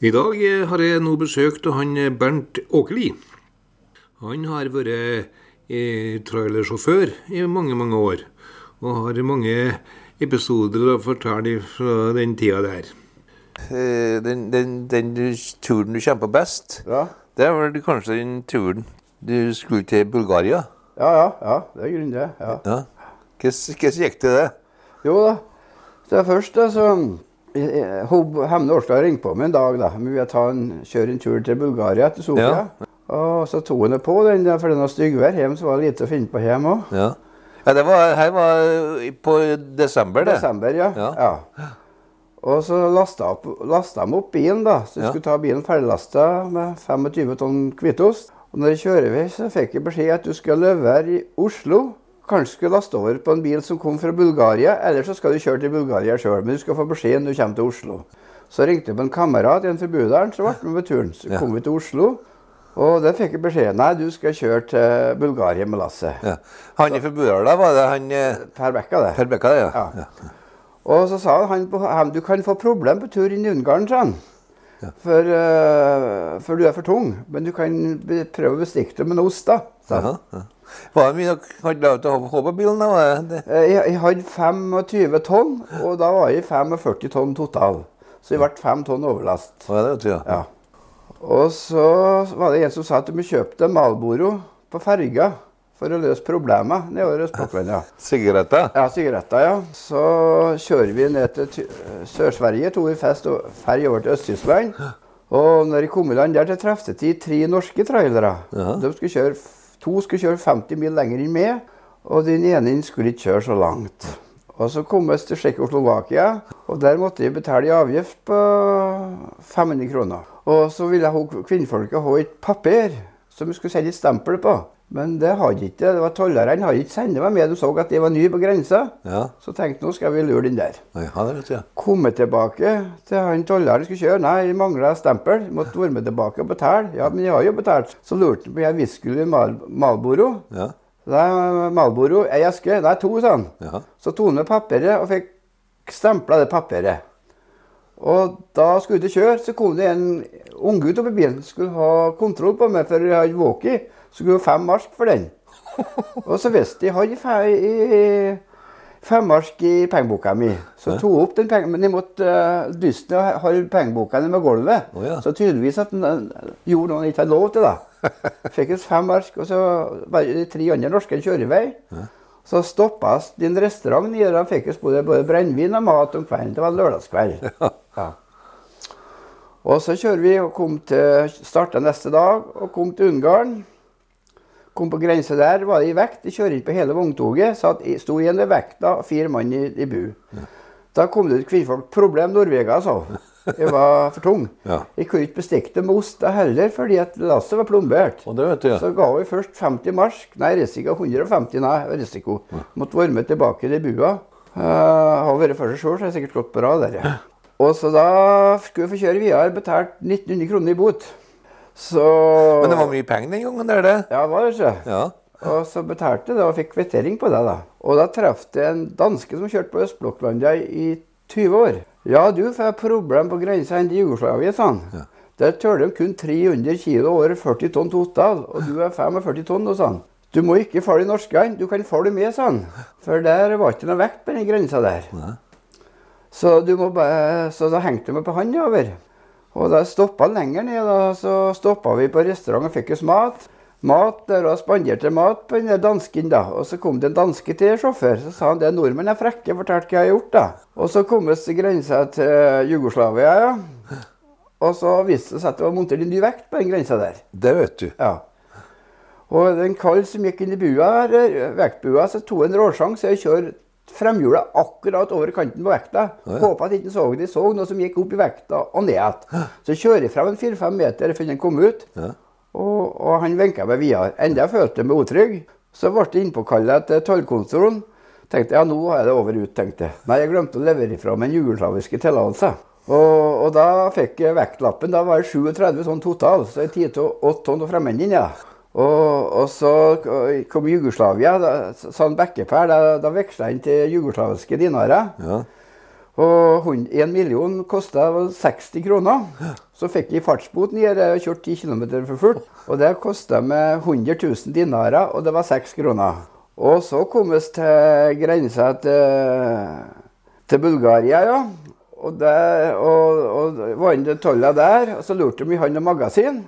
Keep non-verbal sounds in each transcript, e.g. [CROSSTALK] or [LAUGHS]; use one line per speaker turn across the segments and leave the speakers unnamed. I dag eh, har jeg nå besøkt han eh, Bernt Åkeli. Han har vært eh, trailersjåfør i mange, mange år. Og har mange episoder å fortelle fra den tida der.
Eh, den, den, den du, turen du kjemper best,
Ja.
det er vel kanskje den turen du skulle til Bulgaria.
Ja, ja, ja, det er grunnen det. Ja.
Ja. Hvordan hvordan gikk det? det?
Jo da. Så først da, så jeg- jeg- hun- Hemne Årstad ringte på meg en dag. da. Men vil ta en, kjøre en tur til Bulgaria, til Sofia. Og så tok hun det på den, der, for den var styggvær hjemme, så var det lite å finne på hjem òg.
Ja. ja, det var, her var i- på desember, det.
Desember, ja.
Ja.
ja. Og så lasta opp- lasta de opp bilen, da. Så jeg
Ja.
skulle ta bilen ferdiglasta med 25 tonn hvitost. Og når jeg kjører vei, så fikk jeg beskjed at du skal levere i Oslo. Kanskje skulle laste over på en bil som kom fra Bulgaria, eller så skal du kjøre til Bulgaria sjøl. Men du skal få beskjed når du kommer til Oslo. Så ringte jeg på en kamerat igjen fra Budalen, så ble han med på turen. Så
Ja.
kom vi til Oslo, og der fikk jeg beskjed nei, du skal kjøre til Bulgaria med lasset.
Ja. Han fra Budala, var det han eh,
Per Bekka, det.
Per Bekka, det? Ja.
Ja. Og så sa han på ham du kan få problem på tur inn i Ungarn, sa han. For, eh, for du er for tung. Men du kan be- prøve å bestikke det med noe ost, da. sa han.
Jaha, ja. Var det mye dere hadde lov til å ha- ha på bilen? da? var det?
Eh, Jeg, jeg hadde 25 tonn, og da var jeg 45 tonn total. Så jeg ble 5 tonn overlast.
Var det, vet du, ja.
Ja. Og så var det en som sa at de kjøpte Malboro på ferga for å løse problemer nedover Østpakkelandet.
Sigaretter?
Ja, sigaretter, ja. Så kjører vi ned til Ty- Sør-Sverige, tog vi fest og ferg over til Øst-Tyskland. Og når jeg kom i land der, så traff jeg til tre norske trailere. De skulle kjøre, to skulle kjøre 50 mil lenger enn meg, og den ene skulle ikke kjøre så langt. Og så kom vi til Tsjekkoslovakia, og der måtte jeg betale i avgift på 500 kroner. Og så ville hun- kvinnfolket ha et papir som vi skulle sende et stempel på. Men det hadde ikke det var tollerne hadde ikke sendt meg med. De så at jeg var ny på grensa.
Ja.
Så tenkte jeg, nå skal vi lure den der.
ja det vet du, ja.
Komme tilbake til han tolleren skulle kjøre. Nei, jeg mangla stempel. Jeg måtte være med tilbake og betale. Ja, men jeg har jo betalt. Så lurte han på jeg viskull i Mal Malboro.
Ja.
Nei, Malboro, ei eske. Nei, to, sa han.
Ja.
Så tok han med papiret og fikk stempla det papiret. Og da skulle det kjøre, så kom det en unggutt opp i bilen. Skulle ha kontroll på meg, for jeg hadde walkie. Så skulle jeg ha fem mark for den. Og så visste jeg hadde fe- i- fem mark i pengeboka mi. Så tok jeg opp den pengen, men jeg måtte uh, dyste og holde pengeboka ned med gulvet.
Å ja.
Så tydeligvis at den eh, gjorde noe han ikke hadde lov
[LAUGHS]
til, da. Fikk oss fem mark, og så var det tre andre norske kjørevei. Så stoppa oss til en restaurant nede, og da fikk oss både, både brennevin og mat om kvelden. Det var lørdagskveld.
[LAUGHS]
Ja. Og så kjører vi og kom til, startet neste dag og kom til Ungarn. Kom på grensa der, var det i vekt. De kjører inn på hele vogntoget. Satt, i- sto igjen ved vekta, og fire mann i, i bu. Da kom det ut kvinnfolk. Problem Norvega, sa hun. Jeg var for tung.
Ja.
Jeg kunne ikke bestikke det med ost da heller, fordi at lasset var plombert.
Og det vet du, ja.
Så ga vi først 50 marsk. Nei, risiko 150, nei, risiko. Måtte være med tilbake til bua. Eh, har vært for seg sjøl, så er det sikkert gått bra der. ja. Og så da skulle vi få kjøre videre, betalt 1900 kroner i bot. Så
Men det var mye penger den gangen, der, det?
Ja, det var det ikke?
Ja.
Og så betalte jeg det, og fikk kvittering på det. da. Og da traff jeg en danske som kjørte på Østblokklandet i 20 år. Ja, du får problem på grensa inn til Jugoslavia, sa han. Der tøler de kun 300 kilo over 40 tonn total, og du er 45 tonn, nå, sa han. Du må ikke følge norskene, du kan følge med, sa han. For der var ikke noe vekt på den grensa der. Så, du må bare, så da hengte jeg meg på han over. Og da stoppa han lenger ned. da, Så stoppa vi på restaurant og fikk oss mat. Mat der og spanderte mat på den der dansken. da. Og så kom det en danske til sjåfør. Så sa han det nordmenn er frekke, fortalte hva jeg har gjort. da. Og så kom vi til grensa til Jugoslavia, ja. Og så viste det seg at det var montert en ny vekt på den grensa der.
Det vet du.
Ja. Og den kall som gikk inn i bua, her, eh, vektbua, så tok en råsjang, så jeg kjører fremhjula akkurat over kanten på vekta.
Å, ja.
Håpet at ikke så de så noe som gikk opp i vekta og ned igjen. Så kjører jeg frem en fire-fem meter før den kom ut,
Ja.
og, og han vinket meg videre. Enda jeg følte meg utrygg, så ble det innpåkallet til tollkontrollen. Tenkte ja, nå er det over ut, tenkte jeg. Nei, jeg glemte å levere ifra meg en jugoslaviske tillatelse. Og, og da fikk jeg vektlappen. Da var det 37 tonn total, så jeg tiet og åtte tonn fra mennene. Ja. Og, og så kom Jugoslavia. da- Sånn bekkepær, da, da veksla han til jugoslaviske dinarer.
Ja.
Og hun- en million kosta 60 kroner. Så fikk jeg fartsbot ned og kjørte 10 km for fullt. Og det kosta meg 100 000 dinarer, og det var 6 kroner. Og så kom vi til grensa til, til Bulgaria, ja. Og, der, og, og var inne til tolla der, og så lurte de i han og magasin.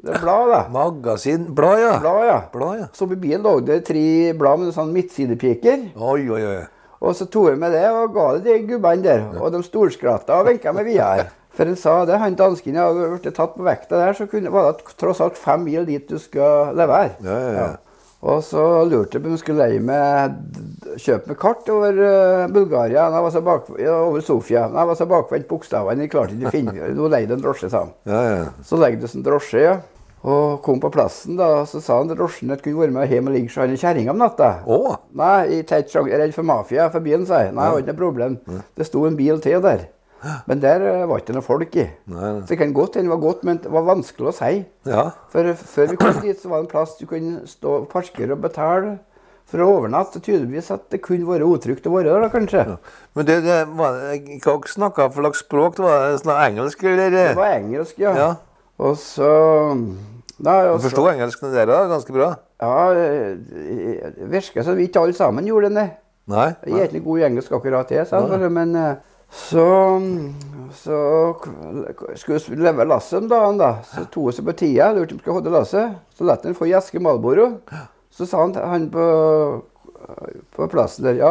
Det er blad, da.
Magasin Blad, ja.
Blad, ja.
Blad, ja.
Så på bilen lå det tre blad med sånn midtsidepiker.
Oi, oi, oi.
Og så tok jeg med det og ga det til gubbene der. Og de storskratta og vinka meg videre.
[LAUGHS]
For han sa det, han dansken hadde blitt tatt på vekta der, så kunne, var det tross alt fem mil dit du skal levere.
Ja, ja, ja.
Og så lurte jeg på om jeg skulle leie meg, d- kjøpe meg kart over eh, Bulgaria når jeg var så bak, ja, over Sofia. Når jeg var så bakvendt bokstavene, jeg klarte ikke å finne
[LAUGHS]
det. Nå leide jeg en drosje, sa han.
Ja, ja.
Så legde oss en drosje, ja. Og kom på plassen, da, så sa han til drosjen at kunne være med hjem og ligge hos han og kjerringa om natta.
Å?
Nei, jeg er ikke redd for mafia for bilen, sa jeg. Nei, det var ikke noe problem. Det sto en bil til der. Men der eh, var ikke noe folk i.
Nei, nei.
Så det kan godt hende det var godt, men det var vanskelig å si.
Ja.
For før vi kom dit, så var det en plass du kunne stå og parkere og betale for å overnatte. Tydeligvis at det kunne vært utrygt å være der, da, kanskje.
Men det, det var, hva snakka for slags språk? Det var det sånn engelsk, eller?
Det var engelsk, ja.
Ja.
Og så Nei, og
Du
så-
forsto engelsken der da, ganske bra?
Ja, det virker som vi ikke alle sammen gjorde det. nei.
Nei?
Jeg er ikke noe god i engelsk akkurat, jeg, sa han. bare, Men eh, så, så k- k- skulle vi leve lasset om dagen, da. Så tok vi seg på tida, lurte om vi skulle holde lasset. Så lot han få ei eske Malboro. Så sa han, han på, på plassen der, ja,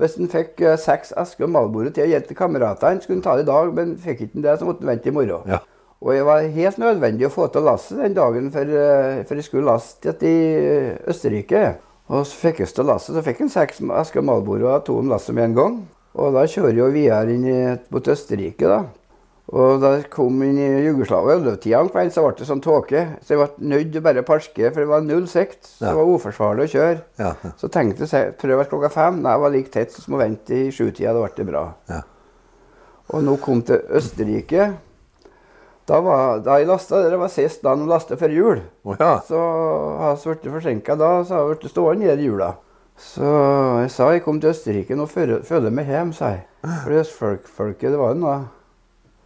hvis han fikk eh, seks esker Malboro til å gi til kameratene, skulle han ta det i dag, men fikk ikke han det, så måtte han vente i morgen.
Ja.
Og det var helt nødvendig å få til lasset den dagen, for, eh, for jeg skulle laste til i eh, Østerrike. Og så fikk jeg til lasset, så fikk jeg seks esker Malboro og to om lasset med en gang. Og da kjører jeg jo videre inn i, mot Østerrike, da. Og da jeg kom inn i Jugoslavia, og løvtida om kvelden, så ble det sånn tåke. Så jeg ble nødt til bare å parkere, for det var null sikt. Så
Ja.
det var uforsvarlig å kjøre.
Ja, ja.
Så tenkte jeg prøv klokka fem. Nei, det var like tett, så må jeg vente i sjutida. Da ble det bra.
Ja.
Og nå kom til Østerrike. Da, var, da jeg lasta, det var sist dagen de lasta før jul.
Å ja.
Så har jeg blitt forsinka da, så har jeg blitt stående nede i jula. Så jeg sa jeg kom til Østerrike, nå føler føler jeg meg hjem, sa jeg. For østfolket, det var jo noen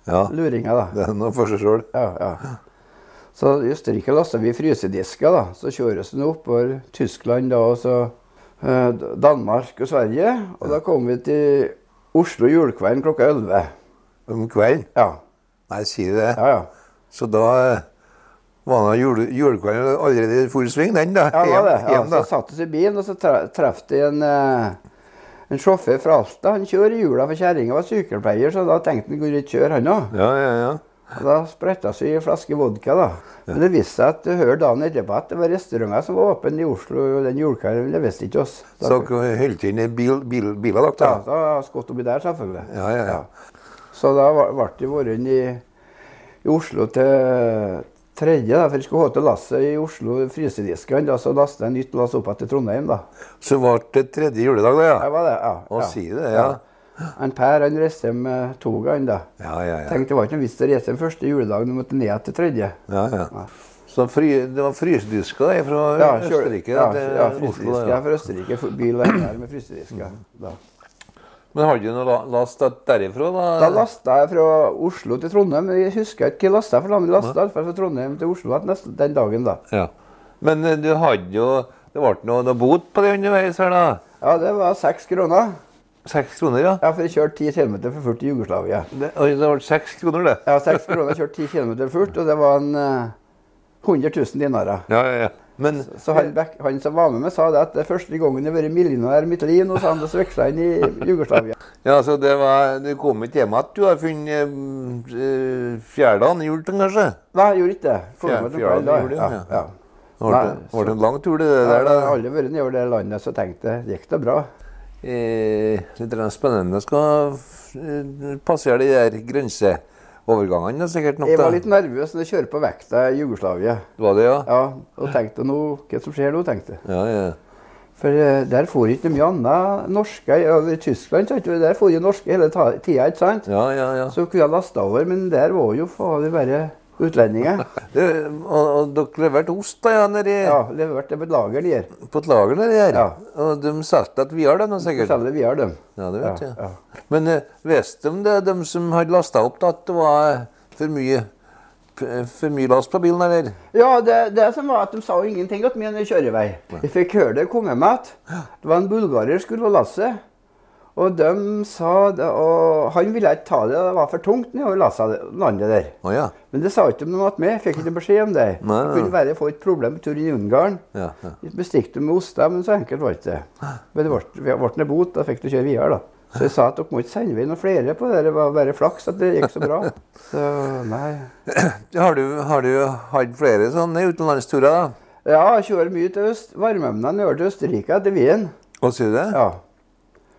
ja.
luringer, da.
Det er noe for seg sjøl.
Ja, ja. Så i Østerrike lasta vi frysedisker, da. Så kjøres den oppover Tyskland da, og så eh, Danmark og Sverige. Og da kom vi til Oslo julekvelden klokka 11.
Om kvelden?
Ja,
Nei, sier du det?
ja. ja.
Så da eh, var nå jule, julekvelden allerede i full sving, den, da?
Ja, det var det. Ja,
Hjem,
så
da.
satt vi i bilen, og så tra- traff de en, eh, en sjåfør fra Alta. Han kjører i jula, for kjerringa var sykepleier, så da tenkte han kunne ikke kjøre, han òg.
Ja, ja, ja.
Og Da spretta vi ei flaske vodka. da. Men det viste seg at det hørte dagen etterpå at det var restauranter som var åpne i Oslo den julekvelden. men Det visste ikke oss. Da,
Så dere holdt inn i bil, bil, biler,
ja,
dere? da?
da skvatt oppi der, selvfølgelig.
Ja, ja, ja.
Så da var- ble det vært inn i, i Oslo til tredje, da, for jeg skulle ha til lasset i Oslo frysedisken. Da, så lasta jeg nytt lass opp igjen til Trondheim, da.
Så ble det tredje juledag, da,
Det
ja?
var det, ja.
Å,
ja.
sier du det, ja.
En Per han reiste hjem eh, to ganger, da.
Ja, ja, ja.
Tenkte det var ikke noe vits i å reise den første juledagen, du måtte ned til
ja,
tredje.
ja. Så fry, det var frysedisker da, fra
Ja, kjøl-
Østerrike
ja,
til
ja,
Oslo?
frysedisker.
Da, Mm.
Ja,
ja.
for Østerrike for bil og her med frysedisker. Da,
Men hadde du noe la- last da- derifra, da?
da lasta jeg fra Oslo til Trondheim. men Jeg husker ikke hva jeg lasta, for da men jeg lasta iallfall fra Trondheim til Oslo at neste, den dagen, da.
Ja. Men eh, du hadde jo Det ble noe, noe bot på det underveis her, da?
Ja, det var seks kroner.
Seks kroner, ja?
Ja, for jeg kjørte ti kilometer for fullt i Jugoslavia.
Det, oi, det ble seks kroner, det.
Ja, seks kroner, jeg kjørte ti kilometer fullt, og det var en eh, 100 000 dinarer.
Ja, ja, ja. Men
Så han, Beck- han som var med meg, sa det at det er første gangen jeg har vært millionær i mitt liv. Nå sa han det sveksla inn i Jugoslavia.
ja, så det var, du kom ikke hjem igjen? Du har funnet mm, eh, fjerdagen i julten, kanskje?
Nei, jeg gjorde ikke det. Kom
Fjerde-
med til
fjerde
kveld,
juli,
da.
ja.
ja.
Det ble,
Nei,
ble en lang tur, det
Ja,
der.
da har
da.
alle vært nedover det landet, så tenkte jeg gikk det bra.
Eh, litt grann spennende skal eh, passere de der grenseovergangene sikkert nok,
Jeg
da.
var litt nervøs når jeg kjører på vekta i Jugoslavia.
Var det, ja?
Ja, og tenkte nå, hva som skjer nå, tenkte jeg.
Ja, ja.
For eh, der for ikke mye annet norske. ja, I Tyskland sant? og der for jo norske hele ta- tida, ikke sant?
Ja, ja, ja.
Så kunne jeg lasta over, men der var jo fader bare utlendinger.
Det, og, og dere leverte ost da, ja, nedi,
Ja, levert det på et lager der.
på et lager nedi her.
Ja.
Og de solgte at vi har det nå, sikkert.
Selger vi har dem.
Ja, det vet
Ja,
jeg. Men eh, visste de det, de som hadde lasta opp, da, at det var eh, for mye, for mye last på bilen, eller?
Ja, det, det som var at de sa jo ingenting til min kjørevei. Jeg fikk høre det komme med at det var en bulgarer skulle ha lasset. Og de sa det, og han ville ikke ta det, det var for tungt nedover lasset landet der.
Å ja.
Men det sa ikke de noe med, jeg fikk ikke beskjed om det.
Nei,
Det
nei.
kunne være jeg får et problem på tur inn i Ungarn.
Ja, ja.
Jeg bestikte dem med oster, men så enkelt var det ikke. Men det ble- det ble en bot, da fikk de kjøre videre, da. Så jeg sa at dere må ikke sende meg noen flere på det, det var bare flaks at det gikk så
[LAUGHS]
bra. Så nei.
Har du, har du hatt flere sånne utenlandsturer, da?
Ja, jeg kjører mye til øst, varmeemnene over til Østerrike, til Wien.
Å, sier du det?
Ja,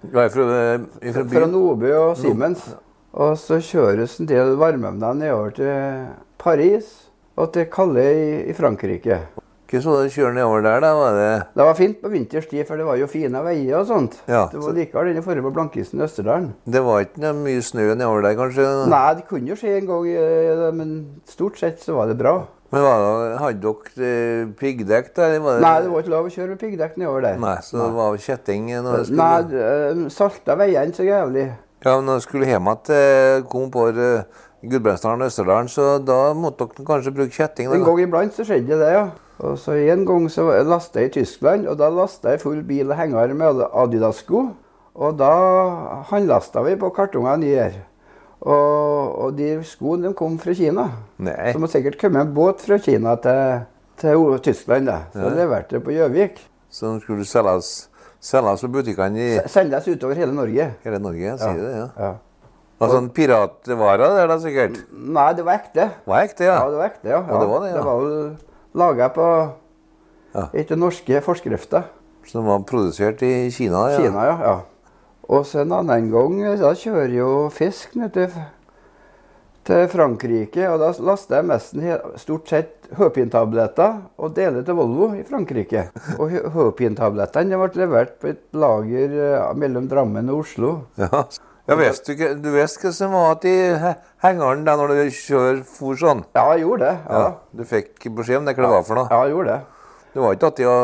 Du er fra, eh, fra
fra
byen?
Nobø og Siemens. Og så kjøres en del varmeemner nedover til Paris og til Calais i- i Frankrike.
Hvordan var det å kjøre nedover der, da? Var det
Det var fint på vinterstid, for det var jo fine veier og sånt.
Ja,
det
så-
var likevel denne forrige på Blankisen i Østerdalen.
Det var ikke noe mye snø nedover der, kanskje?
Nei, det kunne jo skje en gang, eh, men stort sett så var det bra.
Men var det, hadde dere eh, piggdekk der? Var
Nei, det var ikke lov å kjøre med piggdekk nedover der.
Eh. Nei, så det var kjetting når dere skulle
Nei, eh, salta veiene så jævlig.
Ja, men når jeg skulle hjem til eh, Kompår, Gudbrandsdalen og Østerdalen, så da måtte dere kanskje bruke kjetting?
En
Da.
gang iblant så skjedde det, ja. Og så En gang så lasta jeg i Tyskland, og da lasta jeg full bil og henger med alle Adidas-sko. Og da handlasta vi på kartongene nye her. Og, og de skoene de kom fra Kina.
Nei.
Så må sikkert komme en båt fra Kina til, til O- Tyskland. da. Så leverte jeg på Gjøvik.
Så de skulle selges, selges på butikkene i
S- Sendes utover hele Norge.
hele Norge, jeg sier det, ja.
Ja.
Og sånn piratvarer der da, sikkert?
Nei, det var ekte.
Var ekte, ja?
Ja, det var ekte, ja.
Ja, det var det, ja.
Det var laga på
Ja.
etter norske forskrifter.
Som var produsert i Kina? Ja.
Kina, ja. ja. Og så en annen gang, da kjører jeg jo fisk ned til, til Frankrike, og da laster jeg mesten he- stort sett høpintabletter og deler til Volvo i Frankrike. Og hø- høpintablettene de ble levert på et lager eh, mellom Drammen og Oslo.
Ja, ja vet du, ikke, du vet hva som var til he- hengeren der når du kjører for sånn?
Ja, jeg gjorde det. Ja,
Du fikk beskjed om det hva det var for noe?
ja jeg gjorde det.
Det var ikke at jeg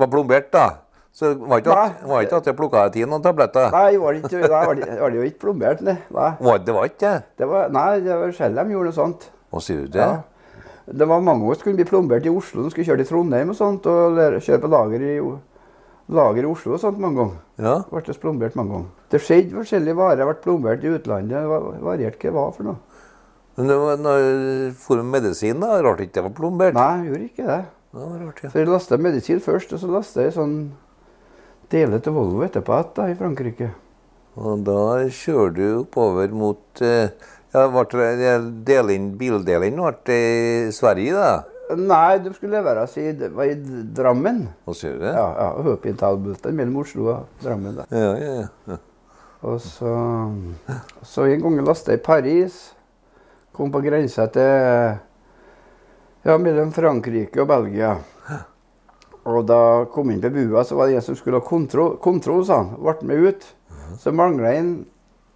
var plombert, da. Så det var ikke at,
Nei.
var ikke at jeg plukka ut noen tabletter.
Nei, jeg var det ikke, nei, var det, var det jo ikke plombert, nei. Nei,
Var, det var ikke det?
det var, nei, det var sjelden de gjorde noe sånt.
Hva sier du til det?
Ja. Det var mange år som skulle bli plombert i Oslo. De skulle kjøre til Trondheim og sånt, og lære- kjøre på lager i, O- lager i Oslo og sånt mange ganger.
Ja.
Det Ble det plombert mange ganger. Det skjedde forskjellige varer. Ble plombert i utlandet. Det var- varierte hva det var for noe.
Men det var, når jeg for med medisin, da, rart ikke det var plombert.
Nei, jeg gjorde ikke det.
Det var rart, ja.
For jeg lasta medisin først, og så lasta jeg sånn deler til Volvo etterpå igjen, da, i Frankrike.
Og da kjører du oppover mot eh, ja, ble det- det- delin, Bildelingen ble i Sverige, da.
Nei, de skulle leveres i, det var i Drammen.
Hva sier du? det?
Ja, ja, og Høpintalbulten mellom Oslo og Drammen. da.
Ja, ja, ja. ja.
Og så, så en gang lasta jeg i Paris. Kom på grensa til Ja, mellom Frankrike og Belgia. Og da kom jeg inn på bua, så var det en som skulle ha kontroll, kontroll sa han. Ble med ut. Så mangla en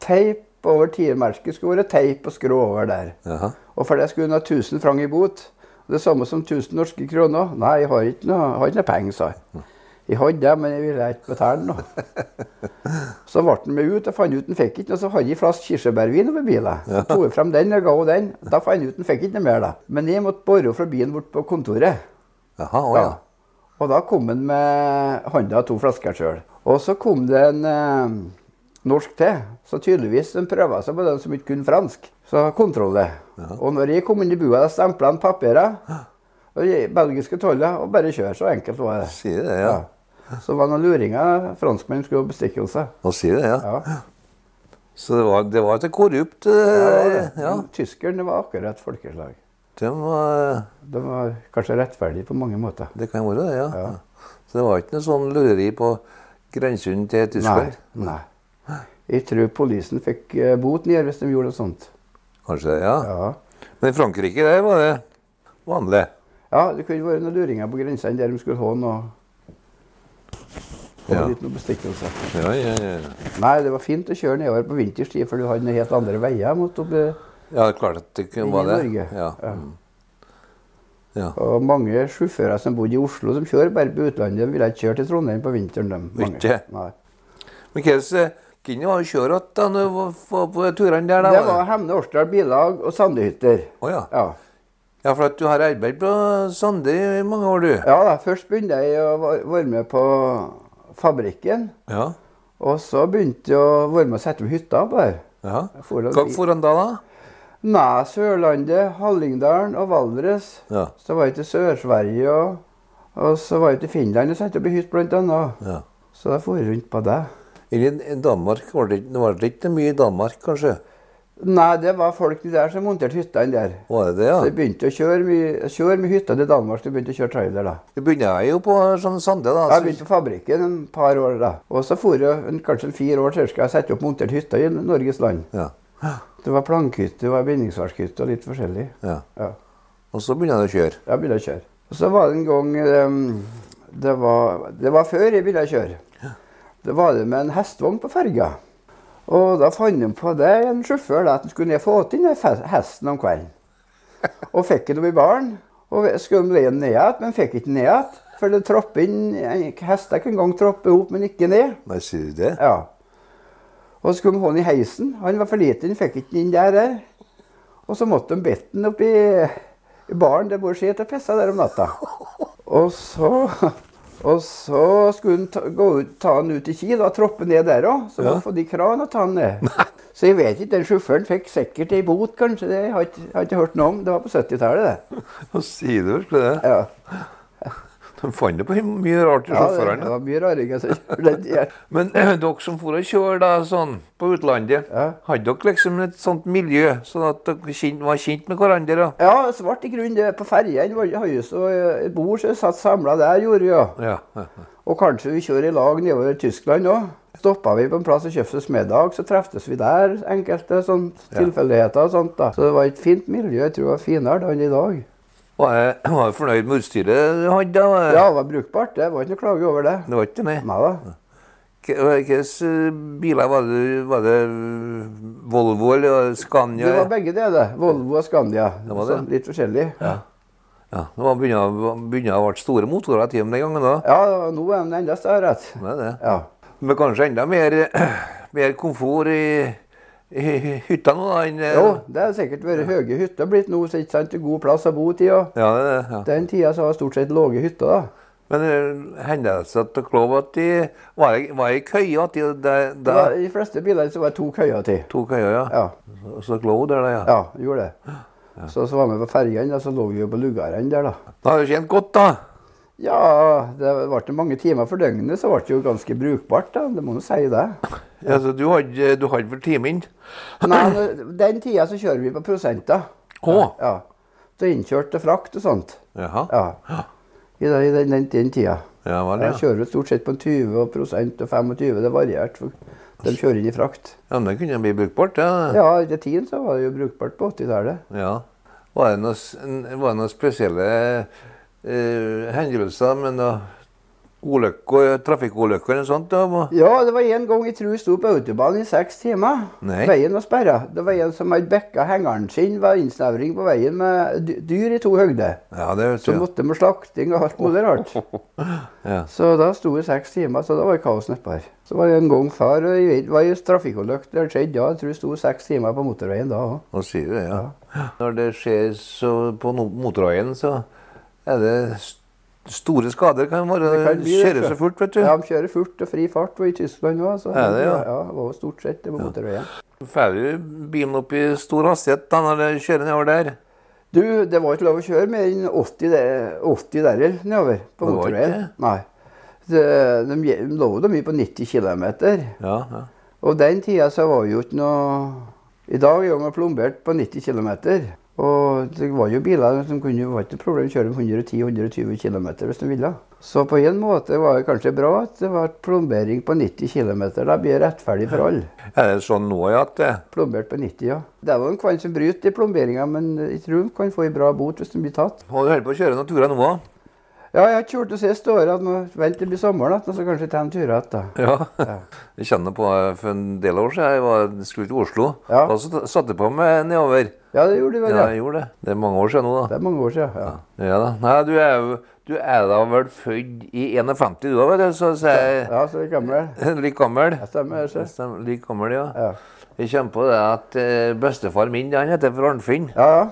teip over tiermerket. Skulle være teip og skrå over der.
Jaha.
Og for det skulle hun ha 1000 franc i bot. Og det samme som 1000 norske kroner. Nei, jeg har ikke noe, jeg har ikke noe penger, sa jeg. Jeg hadde det, men jeg ville ikke betale noe. Så ble han med ut og fant ut han fikk ikke, og så hadde jeg en flaske kirsebærvin over bilen. Så tok jeg frem den og ga henne den. Da fant jeg ut han fikk ikke noe mer, da. Men jeg måtte borre fra bilen bort på kontoret.
Jaha, å ja.
Og da kom han med hånda og to flasker sjøl. Og så kom det en eh, norsk til. Så tydeligvis de prøva seg på den som ikke kunne fransk. Så kontrolle. Og når jeg kom inn i bua, da stempla han papirer. Og jeg- belgiske toller. Og bare kjør. Så enkelt var det.
Sier du det, ja.
Så var det noen luringer. Franskmenn skulle bestikke seg.
Hva sier du det, ja.
Ja.
Så det var, det var ikke korrupt.
Ja,
eh, Ja.
ja. Tyskerne var akkurat folkeslag.
De var,
De var kanskje rettferdige på mange måter.
det kan være det, ja. Så det var ikke noe sånn lureri på grensen til Tyskland?
Nei. nei. Jeg tror polisen fikk eh, bot ned hvis de gjorde noe sånt.
Kanskje det, ja.
Ja.
Men i Frankrike der var det vanlig.
Ja, det kunne vært noen luringer på grensene der de skulle ha noe, ha
Ja.
litt noe bestikkelse.
Ja, ja, ja.
Nei, det var fint å kjøre nedover på vinterstid, for du hadde noen helt andre veier mot oppe
Ja, det er klart at det kunne- var
Inn i
det.
Norge.
Ja.
Ja.
mm. ja.
Og mange sjåfører som bodde i Oslo, som kjører bare på utlandet, ville ikke kjøre til Trondheim på vinteren. De, mange.
Ikke?
Nei.
Men hvordan kunne han kjøre att da når du var- var på turene der? da?
Det var Hemne Årsdal Bilag og Sandehytter.
Å ja.
Ja.
ja, for at du har arbeidet på Sande i mange år, du.
ja da, først begynte jeg å va- være med på fabrikken.
Ja.
Og så begynte jeg å være med og sette opp hytta på her.
ja.
Jeg får lov
Hva
til-
for han da, da?
Nei, Sørlandet, Hallingdalen og Valdres.
Ja.
Så var jeg til Sør-Sverige, og, og så var jeg til Finland og satte opp i hytt blant annet.
ja.
Så da for jeg rundt på det.
Eller i Danmark var det, ikke- var det ikke mye i Danmark, kanskje?
Nei, det var folk der som monterte hyttene der.
Var det det, ja?
Så jeg begynte å kjøre mye, kjøre mye hytter til Danmark. så Jeg begynte å kjøre trailer da.
Du begynner jo på sånn Sande, da.
Jeg begynte på fabrikken en par år da. Og så for jeg en, kanskje en fire år cirka, jeg sette opp montert hytter i Norges land.
Ja.
Det var plankhytte, det var bindingsverkshytte og litt forskjellig.
ja.
Ja.
Og så begynner han å kjøre.
Jeg ville kjøre. Og så var det en gang ehm, det, var, det var før jeg ville kjøre. Det var det med en hestvogn på ferga. Og da fant de på det en sjåfør da, at han skulle ned og få til den fe- hesten om kvelden. Og fikk den opp i baren. Og vi- skulle de leie den ned igjen, men fikk ikke den ned igjen. For det tropper inn en- Hester kan en gang troppe opp, men ikke ned.
Nei, sier du det?
Ja. Og så skulle de ha den i heisen. Han var for liten, han fikk ikke den inn der. der. Og så måtte de bette den oppi i baren der bor skit og pissa der om natta. Og så, og så skulle han ta, gå ut, ta den ut i Kiel og troppe ned der òg. Så måtte få de kran og ta den ned. Så jeg vet ikke, den sjåføren fikk sikkert ei bot, kanskje. Det har jeg ikke, har jeg ikke hørt noe om. Det var på 70-tallet, det.
[LAUGHS] Hva sier du virkelig det?
Ja.
De fant det på mye rart i
ja, det,
sjåførene.
det var mye raringer som gjorde [LAUGHS] det. der.
Men [CLEARS THROAT] dere som for å kjøre da, sånn, på utlandet,
Ja.
hadde dere liksom et sånt miljø, sånn at dere kjent, var kjent med hverandre? da?
Ja, så ble det i grunnen det på ferjen. var- Har jo så eh, et bord, så jeg satt samla der, gjorde vi jo.
Ja. ja, ja.
Og kanskje vi kjører i lag nedover i Tyskland òg. Stoppa vi på en plass og kjøpte oss middag, så treftes vi der. Enkelte sånt, tilfeldigheter og sånt. da. Så det var et fint miljø. Jeg tror det var finere da enn i dag.
Var jeg, [CLEARS THROAT] var jeg fornøyd med utstyret du hadde? da? Var jeg-
Ja, det var brukbart. Det var ikke noe klage over det.
Det var ikke det?
Nei da.
K- Hvilke eh, biler var det? Var det Volvo eller Scania?
Det var begge deler. Volvo og Scandia.
Det var det.
Sånn, litt forskjellig. Ja.
Ja, det var begynner begynner å ha vært store motorer til dem den gangen da.
og nå er den enda større. rett.
Det er det.
Ja.
Men kanskje enda mer, [CLEARS THROAT] mer komfort i, i hytta nå da? Enn,
Jo, det har sikkert vært høye hytter blitt nå, så ikke sant, god plass å bo til. Og
Ja, det, er det, ja.
den tida så var det stort sett lave hytter, da.
Men eh, hender det seg at dere lov at de var, i- var i køya til der,
Det
der
var, I de fleste bilene så var det to køyer til.
to køyer, ja.
Ja.
Så- Så dere lå der, da, ja.
Ja, vi gjorde det. Så, så var vi på fergen, og så lå vi jo på lugarene der, da.
Da har du tjent godt, da.
Ja, det ble mange timer for døgnet, så ble det jo ganske brukbart, da. Det må du si det.
Ja, så Altså, du hadde, du hadde vel timen?
Nei, nå- eh, den tida så kjører vi på prosenter.
Å!
Ja. Så innkjørt og frakt og sånt.
Jaha.
Ja. I den, i den, den, den tida.
Ja vel,
Da
ja.
kjører vi stort sett på en 20 og prosent og 25, det varierte. for De kjører inn i frakt.
ja men det kunne bli brukbart, ja.
Ja, i tiden så var det jo brukbart på 80-tallet.
ja. Var det noen s- var det noen spesielle eh, hendelser med noen ulykker, trafikkulykker eller sånt? Da?
Ja, det var en gang jeg tror jeg sto på autobanen i seks timer.
Nei.
Veien var sperra. Det var en som hadde bekka hengeren sin ved innsnevring på veien med dy- dyr i to høgder.
Ja, det vet
Så
du.
måtte med slakting og alt mulig rart.
[LAUGHS] Ja.
Så da sto jeg seks timer, så da var det kaos nedpå her. Så var det en gang før, og jeg vet, var i trafikkulykke der det skjedde, ja. Jeg tror jeg sto seks timer på motorveien da òg.
Nå sier du det, ja. Når det skjer så på no- motorveien, så er det st- store skader. Kan være, det
kan bli det,
skjære
tror
så
jeg.
fort, vet du.
Ja, de kjører furt og fri fart, og i Tyskland òg, så
Er det, ja?
ja, det var jo stort sett det på motorveien.
Får du bilen opp i stor hastighet da når det kjører nedover der?
Du, det var ikke lov å kjøre mer enn 80, der- 80 derrel nedover på
Det var
motorveien.
ikke?
Nei. Det, de, gje- de lovde mye på 90 km.
Ja, ja.
Og den tida så var jo ikke noe I dag er jo vi plombert på 90 km. Og det var jo biler som kunne det var ikke noe problem å kjøre 110-120 km hvis de ville. Så på en måte var det kanskje bra at det var plombering på 90 km. Da blir det rettferdig for
[LAUGHS]
alle.
Er det sånn nå, ja, at det...
Plombert på 90, ja. Det er jo en kvann som bryter i plomberinga, men jeg tror de kan få ei bra bot hvis de blir tatt.
Og du holder på å kjøre noen turer nå òg?
Ja, jeg har ikke gjort det siste året. at nå Vent til det blir sommer, da, så kanskje jeg tar en tur igjen. da.
Ja. eh, Jeg kjenner på for en del år siden jeg var, skulle til Oslo.
Ja.
Da s- satt jeg på meg nedover.
Ja, det gjorde du vel,
Ja,
ja.
jeg gjorde det. Det er mange år siden nå, da.
Det er mange år siden. Ja.
Ja da. Nei, du er, jo- du er da vel født i 51, du da, vet du, så sier
ja, så er jeg gammel.
[LAUGHS] jeg Lik gammel.
Jeg stemmer, jeg ser.
Stemmer, Lik gammel, ja.
Ja,
Jeg kommer på det at eh, bestefar min, han heter for Arnfinn.
ja. ja.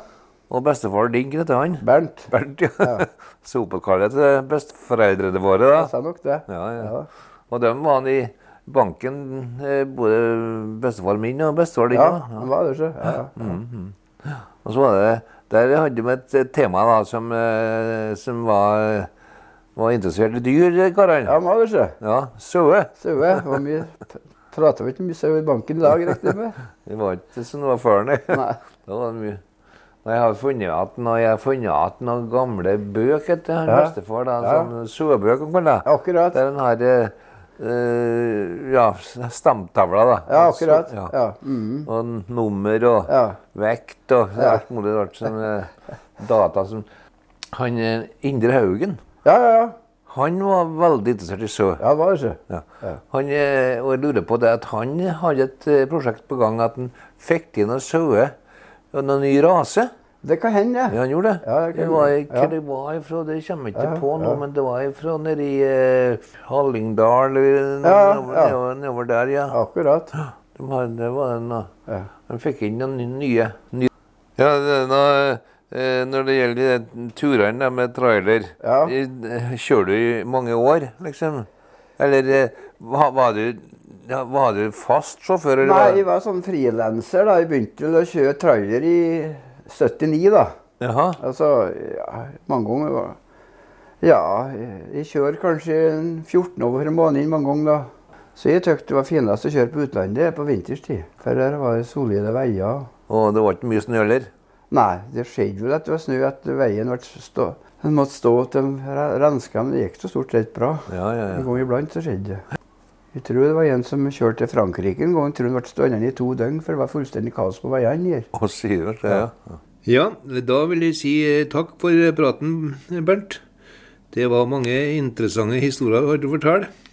Og bestefar din, heter han.
Bernt.
Bernt, [LAUGHS] ja. Sopelkallet til besteforeldrene våre, da.
Jeg sa nok det.
Ja, ja.
Ja.
Og dem var han i banken, eh, både bestefar min og bestefar din.
Ja,
da.
det var det, så. Ja, ja.
Mm. Og så var det, Der hadde vi et tema da, som, eh, som var, var interessert i dyr, eh,
ja,
karene.
det var det, så.
Ja, Sauer.
Saue. Det var mye Prata vi ikke mye sau i banken i dag, riktig med?
Det var ikke som det var før, nei.
Nei.
[LAUGHS] Da var det mye. Nei, jeg har funnet at noe, jeg har funnet at noen gamle bøker til han
Ja.
bestefar. da,
Ja.
som Sauebøker, kan det.
Akkurat.
Der han har eh, eh, ja, stamtavla, da.
Ja, akkurat.
Ja.
Ja. mhm.
Og nummer og
Ja.
vekt og
Ja.
alt mulig rart. Som, eh, data som Han eh, Indre Haugen,
ja, ja, ja.
han var veldig interessert i sau.
Ja, det var det, så.
Ja.
Ja.
Han, eh, og jeg lurer på det at han hadde et eh, prosjekt på gang at han fikk til noen sauer og noen ny rase.
Det kan hende,
Ja, han gjorde det.
Ja, det kan
det var,
hende.
hva
Ja.
det var ifra, det kommer jeg ikke
Ja,
på nå,
ja.
men det var ifra nede i eh, Hallingdal eller
Ja,
nedover,
ja.
nedover, nedover der, ja.
Akkurat.
De hadde, det var en, eh,
Ja.
han fikk inn noen nye, nye. Ja, det, nå, eh, når det gjelder de turene der med trailer,
Ja.
i- eh, kjører du i mange år, liksom? Eller eh, var, var, du, ja, var du fast sjåfør? Eller
Nei, jeg
var...
var sånn frilanser da. Jeg begynte vel å kjøre trailer i 79 da.
Jaha,
Altså, ja, mange ganger var... Ja, jeg- jeg kjører kanskje en 14 over en måned mange ganger da. Så jeg tøkte det var finest å kjøre på utlandet på vinterstid. For der var det solide veier.
og det var ikke mye snø heller?
Nei, det skjedde vel at det var snø at veien ble stå... Den måtte stå til de re- renska, men det gikk så stort sett bra.
Ja, ja,
En
ja.
gang iblant så skjedde det. Jeg tror det var en som kjørte til Frankrike en gang. Jeg tror han ble stående i to døgn, for det var fullstendig kaos på veiene her.
Og sier det, ja.
Ja, da vil jeg si eh, takk for praten, Bernt. Det var mange interessante historier du fortalte.